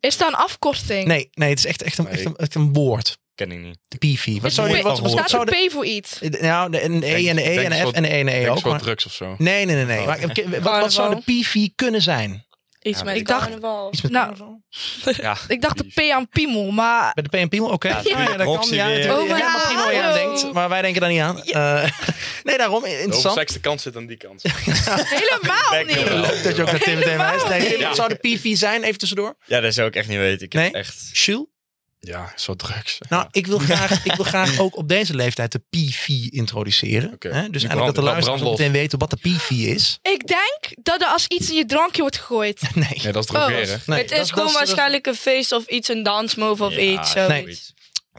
S6: Is dat een afkorting?
S3: Nee, nee, het is echt, echt, een,
S4: Nee.
S3: echt, een, echt een woord.
S5: Ken ik niet.
S3: De PFI. Wat
S6: Is
S3: zou
S5: zou je-
S3: je...
S6: er-
S5: wat- wat
S6: staat
S3: zou
S6: er P voor iets?
S3: Nou, de- een E en een E en een F en een E en een E
S4: Ik
S3: ook.
S4: soort
S3: maar-
S4: drugs of
S3: (laughs)
S4: zo.
S3: Nee, nee, nee. nee. Maar, oké, wat, wat zou de PFI kunnen zijn?
S2: Iets
S5: Ja,
S2: met
S6: ik dacht-
S2: carnaval.
S3: Iets met
S6: Nou.
S3: carnaval?
S6: Ik dacht de P aan piemel,
S3: (laughs)
S6: maar...
S3: Bij de P&P? Oké.
S5: Ja,
S3: Ah, Ja,
S5: natuurlijk,
S3: dat kan.
S5: Roxy
S3: Ja,
S5: weer.
S3: natuurlijk.
S2: Oh my
S3: Helemaal
S2: God.
S3: prima wat jij aan
S2: Hallo.
S3: denkt. Maar wij denken daar niet aan. Eh, (laughs) nee, daarom.
S4: De
S3: Interessant.
S4: oversexte kant zit aan die kant.
S6: Helemaal niet!
S3: Leuk dat je ook naar Tim meteen wijst. Nee, Tim,
S5: Ja.
S3: Wat zou de PFI zijn? Even tussendoor.
S5: Ja, dat zou ik echt niet weten. Ik heb
S3: Nee?
S5: echt...
S3: Jules?
S4: Ja, zo drugs.
S3: Nou, ik wil graag, ik wil graag ook op deze leeftijd de PV introduceren.
S4: Oké.
S3: Hè? Dus
S4: Die
S3: eigenlijk dat de
S4: brand-
S3: luisteraars ook
S4: brandlos.
S3: meteen weten wat de PV is. (laughs)
S6: Ik denk dat er als iets in je drankje wordt gegooid.
S3: Nee.
S4: Nee, dat is
S6: Oh.
S4: drogeren.
S3: Nee,
S2: het
S3: dat-
S2: is gewoon
S3: dat- dat-
S2: waarschijnlijk een feest of iets, een dansmove of
S5: Ja,
S2: iets. Zo.
S3: nee.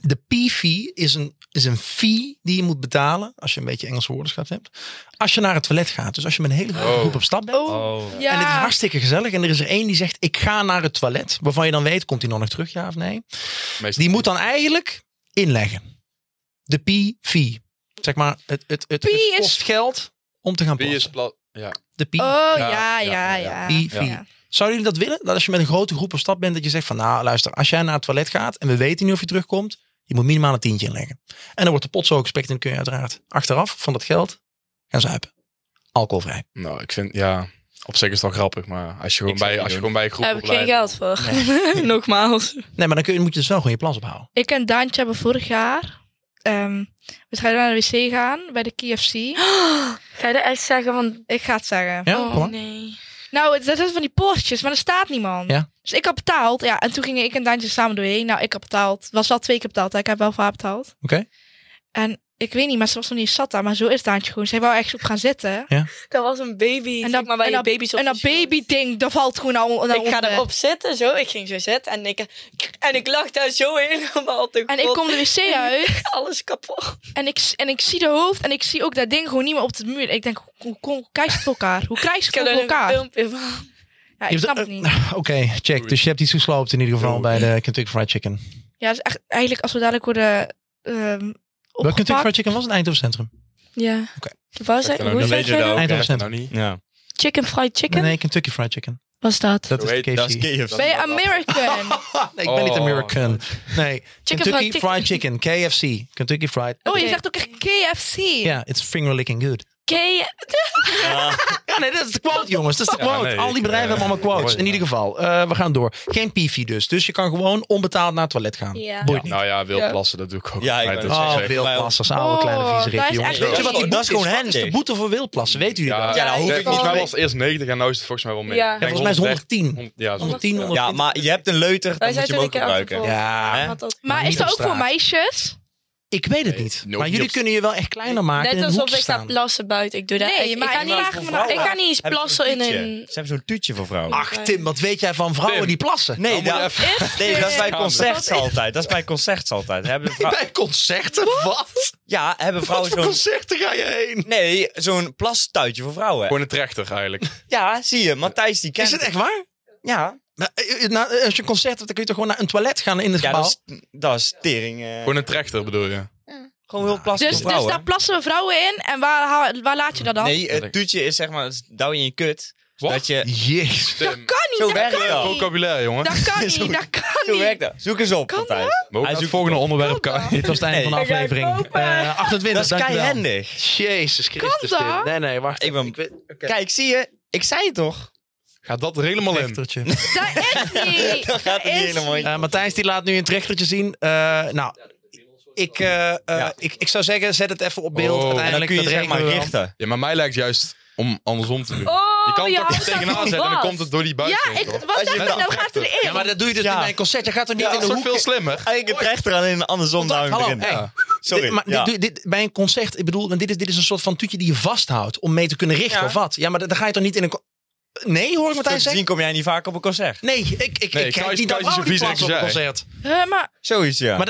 S3: De P-fee is een, is een fee die je moet betalen, als je een beetje Engelse woordenschat hebt, als je naar het toilet gaat. Dus als je met een hele grote
S4: Oh.
S3: groep op stap bent.
S6: Oh,
S5: Oh.
S6: ja.
S3: En het is hartstikke gezellig. En er is er één die zegt, ik ga naar het toilet. Waarvan je dan weet, komt hij nog nog terug, ja of nee?
S4: Meestal
S3: Die moet dan eigenlijk inleggen. De P-fee. Zeg maar, het, het, het, het
S6: Pie is-
S3: kost geld om te gaan
S4: Wie is
S3: plassen.
S4: plat? Ja.
S3: De P.
S6: Oh,
S4: Ja,
S6: ja,
S4: ja,
S6: ja,
S4: ja.
S6: ja.
S3: Pie, pie.
S6: Ja.
S3: Zouden jullie dat willen? Dat als je met een grote groep op stap bent, dat je zegt van nou luister, als jij naar het toilet gaat en we weten niet of je terugkomt, je moet minimaal een tientje inleggen. En dan wordt de pot zo gespekt en dan kun je uiteraard achteraf van dat geld gaan zuipen. Alcoholvrij.
S4: Nou, ik vind, ja, op zich is het wel grappig, maar als je gewoon,
S5: Ik zou
S4: bij,
S5: het
S4: als je
S5: niet
S4: gewoon bij een groep
S2: Daar heb ik geen
S4: opleidt-
S2: geld voor. (laughs) Nogmaals.
S3: Nee, maar dan kun je, moet je dus wel gewoon je plans ophouden.
S6: Ik en Daantje hebben vorig jaar... ehm, we zouden naar de wc gaan bij de KFC.
S2: Ga je dat echt zeggen? Van,
S6: Ik ga het zeggen.
S3: Ja, kom
S2: oh
S3: maar.
S2: nee.
S6: Nou, het- dat zijn van die poortjes, maar er staat niemand.
S3: Ja.
S6: Dus ik had betaald. Ja, en toen gingen ik en Daantje samen doorheen. Nou, ik had betaald. Was wel twee keer betaald. hè. Ik heb wel voor haar betaald.
S3: Oké.
S6: En ik weet niet, maar ze was nog niet zat daar. Maar zo is Daantje gewoon. Zij wou echt op gaan zitten.
S2: Dat was een baby.
S6: En
S2: En
S6: dat-
S2: dat, maar waar
S6: en
S2: je
S6: dat-
S2: baby's op
S6: en dat
S2: verschoot.
S6: baby-ding, dat valt gewoon al.
S2: Ik ga erop zitten, zo. Ik ging zo zitten en ik, en ik lag daar zo helemaal te
S6: En ik kom de wc uit.
S2: Alles kapot.
S6: En ik, en ik zie de hoofd en ik zie ook dat ding gewoon niet meer op de muur. Ik denk, hoe, hoe, hoe krijg je het voor elkaar? Hoe krijg je
S2: Ik
S6: het
S2: heb
S6: voor
S2: er een
S6: elkaar?
S2: filmpje van.
S6: Ja,
S3: Je
S6: ik
S3: hebt-
S6: snap het
S3: eh,
S6: niet.
S3: Oké, check. Dus je hebt iets gesloopt in ieder geval bij de Kentucky Fried Chicken.
S6: Ja, dus echt, eigenlijk als we dadelijk worden ehm
S3: Welke Kentucky
S6: opgepakt...
S3: Fried Chicken was het Eindhoven Centrum?
S2: Ja.
S3: Oké.
S2: Waar zei,
S4: Dat kan
S2: hoe
S4: ook.
S2: zei jij
S5: Dan weet je
S2: dat?
S5: dat.
S4: Ja,
S3: Eindhoven Centrum.
S4: nou niet.
S5: Ja.
S2: Chicken fried chicken?
S3: Nee, nee, Kentucky Fried Chicken.
S2: Was dat?
S3: Dat
S4: Zo
S3: is de
S4: heet-
S3: KFC.
S5: Dat is KFC.
S6: Ben je American?
S5: (laughs)
S3: Nee, ik ben niet
S4: Oh.
S3: American. Nee,
S2: Chicken
S3: Kentucky
S2: Fried
S3: Fried Chicken. KFC. Kentucky Fried.
S6: oh, je
S2: Oké.
S6: zegt ook echt KFC.
S3: Ja, it's finger licking good.
S2: K-
S6: (laughs)
S3: Ja, nee, dat is de quote, jongens. Dat is de
S4: Ja,
S3: quote.
S4: nee,
S3: Al die
S4: ik,
S3: bedrijven
S4: eh,
S3: hebben allemaal quotes.
S4: hoor je
S3: In
S4: wel.
S3: ieder geval, eh, we gaan door. Geen PV dus. Dus je kan gewoon onbetaald naar het toilet gaan.
S2: Ja.
S3: Boeit niet.
S4: Nou ja, wil
S6: Ja.
S4: plassen, dat doe ik ook.
S5: Ja, ik
S4: altijd.
S5: ben-
S4: Dat is
S5: Oh,
S4: echt-
S5: wil-
S3: wildplassers, oude kleine
S6: Oh,
S3: vieze
S6: dat
S3: rikken,
S6: is
S3: jongens.
S6: echt-
S3: Weet je wat die
S5: Oh,
S3: boete
S5: dat
S3: is
S5: is gewoon
S3: Wat is de
S5: handig.
S3: boete voor wildplassen? Weet u dat?
S4: Ja,
S3: wel?
S5: Ja, dat hoef ik
S4: Nee, volgens
S5: niet.
S4: mij was het eerst 90 en nu is het volgens mij wel meer.
S2: Ja.
S4: Ik
S3: Ja,
S4: denk
S3: volgens mij is 110.
S4: 130, Ja, zo.
S3: 110, 120.
S5: Ja, maar je hebt een leuter,
S2: Wij
S5: dan moet
S2: zijn
S5: je hem ook
S2: natuurlijk elke
S5: gebruiken.
S2: volgende.
S3: Ja,
S5: Hè?
S2: had dat-
S6: Maar
S3: niet
S6: is dat
S3: op
S6: ook voor
S3: straat. (laughs)
S6: meisjes?
S3: ik weet het
S4: Nee,
S3: niet.
S4: ook
S3: Maar
S4: niet
S3: jullie
S4: op-
S3: kunnen je wel echt kleiner maken en
S2: Net
S3: in een hoek
S2: alsof ik ga
S3: staan.
S2: plassen buiten. Ik doe dat
S6: Nee,
S2: echt.
S6: maar
S2: ik, ga
S6: ik
S2: niet,
S6: vraag me nou-
S2: ik ga niet eens
S5: Hebben ze zo'n
S2: plassen in
S5: tuutje?
S2: een...
S5: Ze hebben zo'n tuutje voor vrouwen.
S3: Ach Tim, wat weet jij van vrouwen
S4: Tim.
S3: die plassen? Oh,
S5: Nee,
S4: Dan moet
S5: dat-
S4: je even-
S5: (laughs) nee, dat is bij
S4: Wat
S5: concerts altijd. Dat is bij concerts altijd. Hebben vrou-
S3: Bij concerten? Wat?
S5: ja, hebben
S3: Wat
S5: vrouwen
S3: voor
S5: zo'n...
S3: concerten ga je heen?
S5: Nee, zo'n plastuitje voor vrouwen.
S4: Gewoon een trechter eigenlijk.
S5: Ja, zie je. Matthijs, die kent
S3: Is het echt waar?
S5: Ja.
S3: Nou, eh, eh, nou, eh, als je een concert hebt, dan kun je toch gewoon naar een toilet gaan in het
S5: Ja,
S3: gebouw?
S5: dat is, dat is tering. eh,
S4: Gewoon een trechter bedoel je.
S5: gewoon heel plastic
S6: Dus,
S5: voor
S6: dus
S5: vrouwen.
S6: daar plassen we vrouwen in en waar, haal- waar laat je dat dan?
S5: nee, het tuutje is zeg maar, het douw in je kut.
S4: Wat?
S5: Dat je...
S3: Jezus.
S6: Dat
S4: Tim,
S6: kan niet,
S5: Zo
S6: dat
S5: werkt
S6: kan
S5: dat.
S6: niet.
S4: vocabulaire jongen.
S6: Dat
S3: (laughs)
S6: kan niet, dat kan
S5: Zo werkt
S6: niet.
S5: dat. Zoek eens op,
S6: Kan
S5: Matthijs.
S4: Maar ook
S5: Hij
S4: naar het
S5: zoekt
S4: volgende onderwerp kan
S3: Dit was het einde
S5: Nee.
S3: van de
S2: Ik ga
S3: aflevering.
S2: kopen.
S3: Eh 28,
S5: Dat is
S3: dankjewel.
S5: keihendig.
S3: Jezus Christus.
S6: Kan
S3: Tim.
S6: dat?
S3: Nee, nee, wacht.
S5: Ik Oh, ben-
S3: weet- oké.
S5: Kijk, zie je? Ik zei het toch?
S4: Gaat dat er helemaal in?
S3: Trechtertje.
S6: Dat
S3: (laughs)
S6: is niet.
S5: Dat gaat er niet
S6: is
S5: helemaal in.
S3: Eh, Matthijs die laat nu een trechtertje zien. Eh, nou, ik, eh, eh, ik, ik zou zeggen, zet het even op beeld.
S4: Oh.
S5: En dan
S3: Uiteindelijk,
S5: kun je
S3: dat
S5: zeg maar
S3: regelen we wel.
S5: richten.
S4: Ja, maar mij lijkt juist om andersom te doen.
S6: Oh,
S4: je kan
S6: ja,
S4: het toch
S6: dat
S4: tegenaan
S6: was.
S4: zetten en dan komt het door die buis.
S6: Ja,
S4: heen,
S6: ik,
S4: toch?
S6: wat zeg
S5: je
S6: ik
S5: dat
S6: nou? Gaat erin?
S3: Ja, maar dat doe je dus
S5: Ja.
S3: niet bij een concert. Je gaat er niet
S4: Ja,
S3: in
S4: dat
S3: de
S4: is toch
S3: hoek.
S4: veel slimmer?
S5: Eigenlijk een trechter alleen een andersom
S3: Contact,
S5: duw
S3: hallo,
S5: erin.
S3: hey.
S5: Ja.
S3: Dit-
S5: Sorry.
S3: maar dit
S5: ja.
S3: doe- dit- bij een concert, ik bedoel, want dit is, dit is een soort van toetje die je vasthoudt om mee te kunnen richten
S5: Ja.
S3: of wat. Ja, maar dan dan ga je toch niet in een... co- Nee, hoor ik Matthijs
S5: Zo te zien
S3: zeggen?
S5: kom jij niet vaak op een concert.
S3: Nee, ik, ik, ik,
S4: Nee,
S3: kijk
S4: Kruis-
S3: niet naar Wout
S4: Kruis is een
S3: die
S4: vies
S3: plassen op een
S4: exercij.
S3: concert.
S6: Eh, maar
S5: Zoiets, ja.
S3: Maar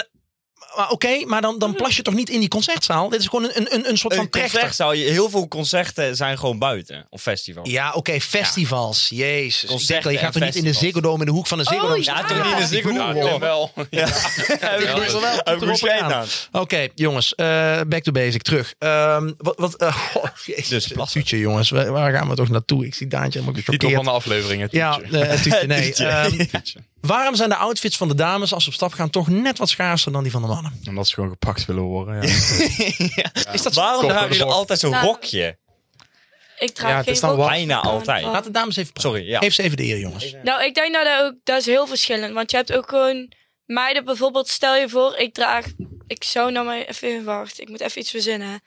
S3: Maar Oké, maar dan, dan plas je toch niet in die concertzaal? Dit is gewoon een, een, een soort van
S5: een
S3: trechter.
S5: concert zou je... Heel veel concerten zijn gewoon buiten. Of festivals.
S3: Ja, oké, festivals. Jezus. Ik
S5: Concerten
S3: denk wel, je gaat
S5: en
S3: toch niet in de
S5: festivals.
S3: Ziggo Dome, in de hoek van de Ziggo Dome
S6: Oh,
S3: staan?
S5: Ja, toch niet Dus in de Ziggo
S3: die
S5: Dome.
S3: vloer,
S5: Ja,
S3: hoor.
S4: wel.
S5: Heb ik
S4: Ja,
S5: goed gedaan. Heb ik
S3: Erop
S5: goed gedaan.
S3: gedaan. Oké, jongens. eh, back to basic. Terug. Ehm, wat... wat eh, (laughs) oh, jezus,
S5: Dus
S3: het
S5: plassen.
S3: tuutje, jongens. Waar, waar gaan we toch naartoe? Ik zie Daantje helemaal
S4: Titel van
S3: gechoqueerd.
S4: de aflevering, het
S3: Ja,
S4: liedje.
S3: eh, het
S5: (laughs)
S3: tuutje, nee.
S5: Tuutje.
S3: Ehm,
S4: Liedje.
S3: waarom zijn de outfits van de dames als ze op stap gaan toch net wat schaarser dan die van de mannen?
S4: Omdat ze gewoon gepakt willen worden. Ja.
S5: Is dat Waarom
S4: Kop door
S5: dragen
S4: de
S5: jullie
S4: bocht.
S5: altijd zo'n
S2: Nou,
S5: rokje?
S2: Ik draag
S3: Ja, het
S2: geen Oh.
S3: is dan
S2: broek.
S3: wel-
S5: Bijna altijd.
S3: Laat de dames even praten.
S5: Sorry, ja.
S3: Geef ze even de eer, jongens.
S2: Nou, ik denk dat dat ook... Dat is heel verschillend. Want je hebt ook gewoon... Meiden bijvoorbeeld, stel je voor, ik draag... Ik zou nou maar even... Wacht, ik moet even iets
S5: (laughs)
S2: verzinnen.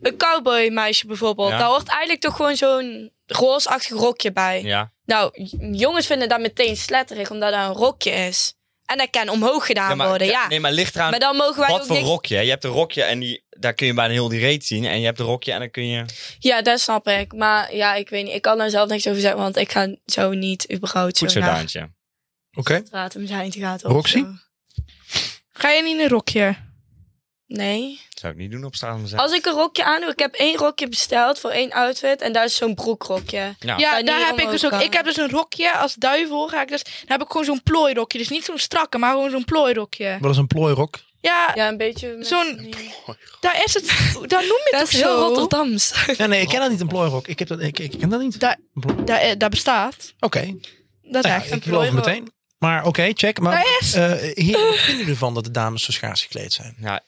S2: Een cowboy meisje bijvoorbeeld.
S5: Ja.
S2: Daar hoort eigenlijk toch gewoon zo'n roze-achtig rokje bij.
S5: Ja.
S2: Nou, j- jongens vinden dat meteen sletterig, omdat dat een rokje is. en dat kan omhoog gedaan worden. Ja.
S5: Nee, maar ligt eraan
S2: maar dan mogen wij
S5: wat
S2: ook
S5: voor
S2: niks...
S5: rokje. hè? Je hebt een rokje en die, daar kun je bijna heel die reet zien. En je hebt een rokje en dan kun je...
S2: Ja, dat snap ik. Maar ja, ik weet niet. Ik kan daar zelf niks over zeggen, want ik ga zo niet überhaupt
S5: Goed
S2: zo
S5: zo,
S2: naar
S5: Daantje.
S3: Oké.
S2: de straat om zijn te gaan. of
S3: Roxy?
S2: zo.
S6: Ga je niet in een rokje?
S2: Nee.
S5: Zou ik niet doen op straat om te zeggen.
S2: Als ik een rokje aan doe, ik heb één rokje besteld voor één outfit en daar is zo'n broekrokje.
S5: Ja.
S6: Ja,
S2: Wanneer
S6: daar heb
S2: omhoog
S6: ik dus ook.
S2: kan.
S6: Ik heb dus een rokje als duivel. Ga ik dus, dan heb ik gewoon zo'n plooirokje. Dus niet zo'n strakke, maar gewoon zo'n plooirokje.
S3: Wat is een plooirok?
S6: Ja,
S2: Ja, een beetje... met-
S6: Zo'n-
S2: Nee.
S6: daar is het. Daar noem je het
S2: Dat
S6: toch
S2: is heel
S6: zo?
S2: Rotterdams. (laughs)
S3: Ja, nee, ik ken dat niet, een plooirok. Ik, heb dat, ik, ik ken dat niet.
S6: Daar-
S3: Een plooi-
S6: Daar, eh, daar bestaat.
S3: Oké,
S6: Dat is
S3: nou ja,
S6: echt.
S3: ik geloof het meteen. Maar oké, check. Maar
S6: Daar is.
S3: eh, hier, wat vinden jullie ervan dat de dames zo schaars gekleed zijn?
S5: Ja,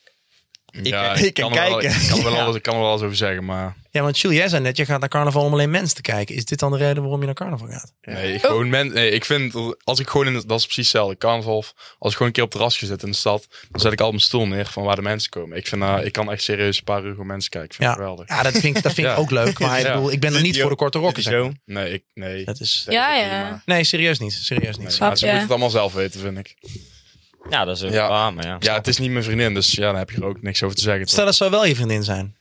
S4: Ja,
S5: ik kan
S4: er
S5: kijken.
S4: Wel, ik, kan er wel,
S5: Ja.
S4: alles- ik kan er wel eens over zeggen, maar
S3: Ja, want Jules, jij zei net, je gaat naar carnaval om alleen mensen te kijken. Is dit dan de reden waarom je naar carnaval gaat?
S4: nee, ik,
S3: Oh.
S4: gewoon men, nee, ik vind, als ik gewoon in, het- dat is precies hetzelfde, carnaval, of als ik gewoon een keer op het terrasje zit in de stad, dan zet ik al op mijn stoel neer van waar de mensen komen. Ik, vind, eh, ik kan echt serieus een paar uur gewoon mensen kijken, ik vind
S3: Ja.
S4: het geweldig.
S3: Ja, dat vind ik, dat vind ik
S4: Ja.
S3: ook leuk. Maar ik,
S4: Ja.
S3: bedoel, ik ben er
S5: Zit
S3: niet
S5: die
S3: voor de
S5: ook-
S3: korte rokken. zeg maar.
S5: zo.
S4: Nee, ik, nee.
S3: Dat is,
S2: Ja,
S4: Nee,
S2: ja.
S4: maar-
S3: nee, serieus niet. Serieus niet.
S4: Nee, maar ze
S2: je?
S4: moeten het allemaal zelf weten, vind ik.
S5: Ja, dat is ook
S4: Ja.
S5: waar, maar ja.
S4: Ja, het is niet mijn vriendin, dus ja, dan heb je er ook niks over te zeggen. toch?
S3: Stel dat zou wel je vriendin zijn.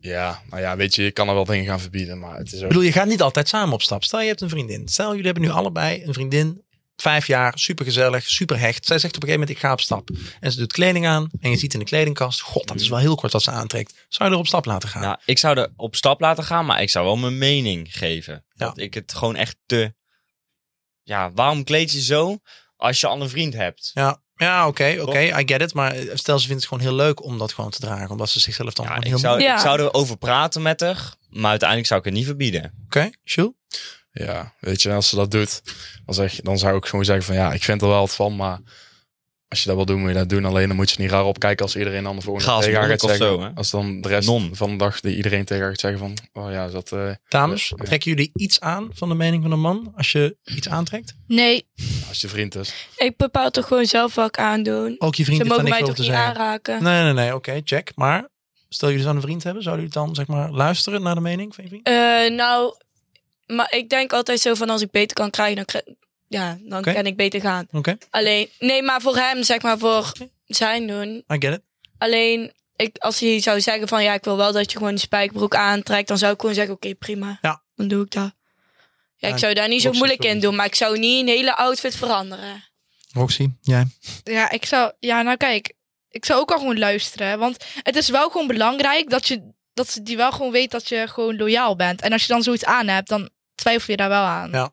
S4: Ja, nou ja, weet je, je kan er wel dingen gaan verbieden, maar het is
S3: Ik
S4: ook...
S3: bedoel, je gaat niet altijd samen op stap. Stel, je hebt een vriendin. Stel, jullie hebben nu allebei een vriendin. Vijf jaar, supergezellig, superhecht. Zij zegt op een gegeven moment, ik ga op stap. En ze doet kleding aan en je ziet in de kledingkast... God, dat is wel heel kort wat ze aantrekt. Zou je er op stap laten gaan?
S5: Nou, ik zou er op stap laten gaan, maar ik zou wel mijn mening geven.
S3: Ja.
S5: Dat ik het gewoon echt te... Ja, waarom kleed je zo als je al een vriend hebt?
S3: Ja, ja oké, oké, I get it. Maar eh, stel, ze vindt het gewoon heel leuk om dat gewoon te dragen. Omdat ze zichzelf dan
S5: Ja,
S3: gewoon
S5: ik
S3: heel...
S5: zou,
S3: mooi-
S2: Ja.
S5: ik zou erover praten met haar, maar uiteindelijk zou ik het niet verbieden.
S3: Oké, Jules?
S4: Ja, weet je, als ze dat doet, dan, zeg, dan zou ik gewoon zeggen van ja, ik vind er wel wat van, maar als je dat wil doen, moet je dat doen. Alleen dan moet je niet raar opkijken als iedereen anders voor
S5: Ga als
S4: tegen haar gaat
S5: monnik of
S4: zeggen.
S5: zo, hè?
S4: als dan de rest
S5: Non.
S4: van de dag die iedereen tegen haar gaat zeggen van, oh ja, is dat... eh,
S3: Dames,
S4: Ja.
S3: trekken jullie iets aan van de mening van een man als je iets aantrekt?
S6: Nee.
S4: als je vriend is.
S2: Ik bepaal toch gewoon zelf wat ik aandoen.
S3: Ook je vriend
S2: Ze
S3: heeft
S2: mogen
S3: daar niks
S2: mij toch
S3: over te
S2: niet
S3: zeggen.
S2: aanraken.
S3: Nee, nee, nee, oké, check. Maar stel jullie zouden een vriend hebben, zouden jullie dan zeg maar luisteren naar de mening van je vriend?
S2: Eh, nou, maar ik denk altijd zo van als ik beter kan krijgen, dan, kri- ja, dan
S3: Oké.
S2: kan ik beter gaan.
S3: Oké,
S2: Alleen, nee, maar voor hem, zeg maar, voor zijn doen.
S3: I get it.
S2: Alleen, ik, als hij zou zeggen van ja, ik wil wel dat je gewoon die spijkerbroek aantrekt, dan zou ik gewoon zeggen, oké, prima.
S3: Ja.
S2: Dan doe ik dat. Ja,
S3: Ja,
S2: ik zou daar niet zo
S3: Roxy,
S2: moeilijk
S3: sorry.
S2: in doen, maar ik zou niet een hele outfit veranderen.
S3: Roxy, jij?
S6: Ja, ik zou. Ja, nou kijk. Ik zou ook al gewoon luisteren. Want het is wel gewoon belangrijk dat je. Dat ze die wel gewoon weet dat je gewoon loyaal bent. En als je dan zoiets aan hebt, dan twijfel je daar wel aan.
S3: Ja.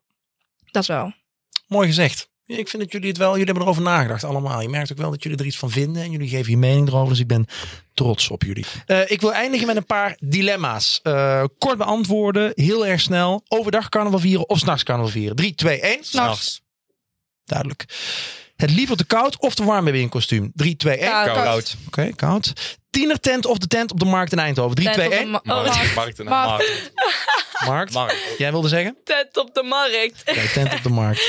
S6: Dat is wel.
S3: Mooi gezegd. Ja, Ik vind dat jullie het wel, jullie hebben erover nagedacht allemaal. Je merkt ook wel dat jullie er iets van vinden en jullie geven je mening erover. Dus ik ben trots op jullie. Eh, ik wil eindigen met een paar dilemma's. Eh, kort beantwoorden, heel erg snel. Overdag carnaval vieren of s'nachts carnaval vieren. 3, 2, 1.
S5: S'nachts.
S3: Nou, Duidelijk. Het liever te koud of te warm hebben in een kostuum. 3, 2, 1.
S2: Koud.
S5: Koud.
S2: Koud.
S3: Oké, koud. Tienertent of de tent op de markt in Eindhoven. 3,
S2: Tent
S3: 2,
S2: op de
S3: 1.
S2: ma-
S4: Maar,
S2: oh, (laughs)
S4: Markt en
S6: Maar-
S5: Markt.
S3: Markt.
S5: Markt.
S3: Jij wilde
S2: (laughs)
S3: zeggen?
S2: tent op de markt.
S3: Oké, tent op de markt.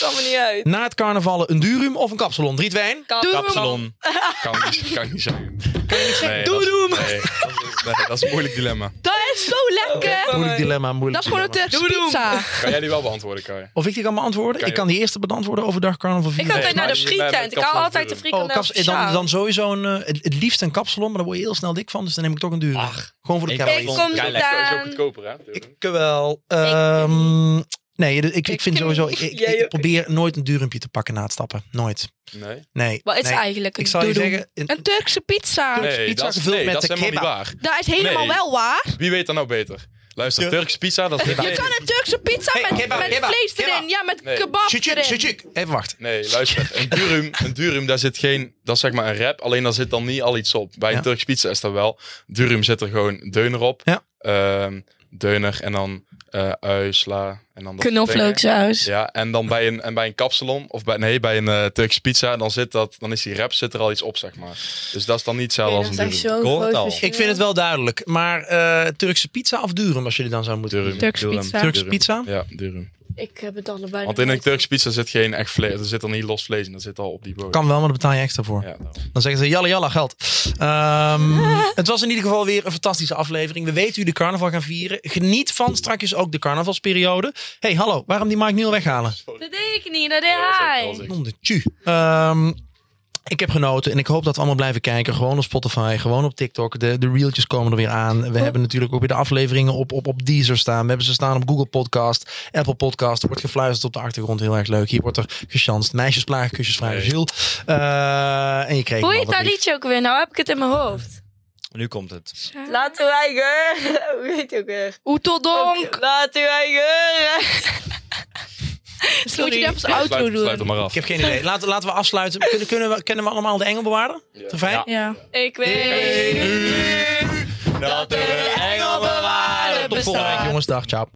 S2: kan me niet uit.
S3: Na het carnaval een durum of een kapsalon. 3, 2, 1.
S2: Kap-
S5: Kapsalon.
S4: kan, ik niet- kan ik niet zeggen. Nee, dat is-
S2: doe.
S4: Nee, dat is- nee, dat is een moeilijk dilemma.
S6: Dat is zo lekker.
S3: Moeilijk
S2: Eh,
S3: dilemma, moeilijk
S6: Dat is gewoon ook
S3: dilemma.
S6: de pizza.
S4: Kan jij die wel beantwoorden, Kai?
S3: Of ik die kan beantwoorden?
S4: Kan
S3: ik
S4: je-
S3: kan die eerste beantwoorden overdag carnaval
S2: Ik
S3: vieren.
S2: ga
S4: Nee,
S2: altijd naar de
S4: maar je- wij hebben
S2: frietent. Ik hou
S4: kapsalon
S2: altijd de
S4: vuren.
S2: frietent.
S3: oh, kaps- dan, dan sowieso een, eh, het, het liefst een kapsalon, maar daar word je heel snel dik van. Dus dan neem ik toch een duur.
S5: Ach.
S3: Gewoon voor de
S5: Ik
S3: calories.
S2: Ik kom
S5: Kei
S2: zo
S5: lekker.
S4: Dat is ook
S2: aan.
S4: goedkoper, hè? natuurlijk.
S3: Ik eh, wel. ehm, nee, ik, ik, vind sowieso... Ik, ik,
S2: Jij
S3: ik
S2: ook.
S3: probeer nooit een durumpje te pakken na het stappen. Nooit.
S4: Nee.
S3: Nee.
S2: Wat is
S3: nee.
S2: eigenlijk een
S3: Ik zal je
S2: doedoe?
S3: zeggen... een-
S6: Een Turkse pizza.
S4: Nee,
S3: pizza
S4: dat is,
S3: gevuld
S4: nee,
S3: met
S4: dat is
S3: de
S4: helemaal niet waar.
S6: Dat is helemaal
S4: Nee.
S6: wel waar.
S4: Wie weet dat nou beter? Luister,
S3: Tur-
S4: Turks pizza, dat is
S6: Je kan een Turkse pizza
S3: Hey,
S6: met,
S3: kebab,
S6: met
S3: kebab,
S6: vlees
S3: kebab.
S6: erin. Ja, met
S4: Nee.
S6: kebab
S3: Tjutjuk,
S6: erin.
S3: tjutjuk. Even wachten.
S4: Nee, luister. Een durum, een durum, daar zit geen... Dat is zeg maar een rap, alleen daar zit dan niet al iets op. Bij
S3: Ja.
S4: een Turks pizza is dat wel. Durum zit er gewoon deuner op.
S3: Ja.
S4: Ehm, deuner en dan eh ui, sla en dan dat soort dingen.
S2: Knoflooksaus.
S4: Ja, en dan bij een, en bij een kapsalon, of bij, nee, bij een eh Turks pizza, dan, zit dat, dan is die rap, zit er al iets op, zeg maar. Dus dat is dan niet hetzelfde als een durum.
S5: Ik hoor het al.
S3: Ik vind het wel duidelijk. Maar eh, Turkse pizza of durum als jullie dan zouden moeten
S4: Durum.
S3: kiezen?
S6: Turkse
S4: durum,
S6: pizza.
S3: Turkse
S4: durum.
S3: pizza?
S4: Ja, durum.
S2: Ik heb het allebei.
S4: Want
S2: nog
S4: in een
S2: nooit-
S4: Turkse pizza zit geen echt vlees. Er zit dan niet los vlees in. Dat zit al op die bodem.
S3: Kan wel, maar daar betaal je extra voor.
S4: Ja, nou.
S3: Dan zeggen ze jalla jalla geld. Ehm, het was in ieder geval weer een fantastische aflevering. We weten hoe de carnaval gaan vieren. Geniet van strakjes ook de carnavalsperiode. hey, hallo, waarom die Mike Neal weghalen?
S2: Dat deed ik niet, dat deed
S4: Dat was ook
S2: hij.
S4: wel zeker.
S3: Monde tju. Ehm, ik heb genoten en ik hoop dat we allemaal blijven kijken. Gewoon op Spotify, gewoon op TikTok. De, de reeltjes komen er weer aan. We hebben natuurlijk ook weer de afleveringen op, op, op Deezer staan. We hebben ze staan op Google Podcast, Apple Podcast. Er wordt gefluisterd op de achtergrond, heel erg leuk. Hier wordt er gechanst. Meisjes plagen, kusjes vragen,
S4: Hey.
S3: ziel. Eh, en je kreeg
S2: Hoe
S3: wel
S2: heet
S3: wat
S2: dat
S3: lief.
S2: liedje ook weer? Nou heb ik het in mijn hoofd.
S5: Nu komt het.
S2: Laat uw eigen. (laughs) Hoe heet het ook weer?
S6: Oeteldonk.
S2: Laat uw eigen.
S6: Moet je dat als
S4: Sluit,
S6: outro
S4: sluit
S6: doen?
S4: hem maar af.
S3: Ik heb geen idee. Laten, laten we afsluiten. Kunnen, kunnen we, kennen we allemaal de Engelbewaarder? De vijf?
S6: Ja.
S2: Ik weet.
S5: Dat de engel
S2: bewaren
S5: bewaren
S3: Tot volgende week, jongens. Dag, ciao.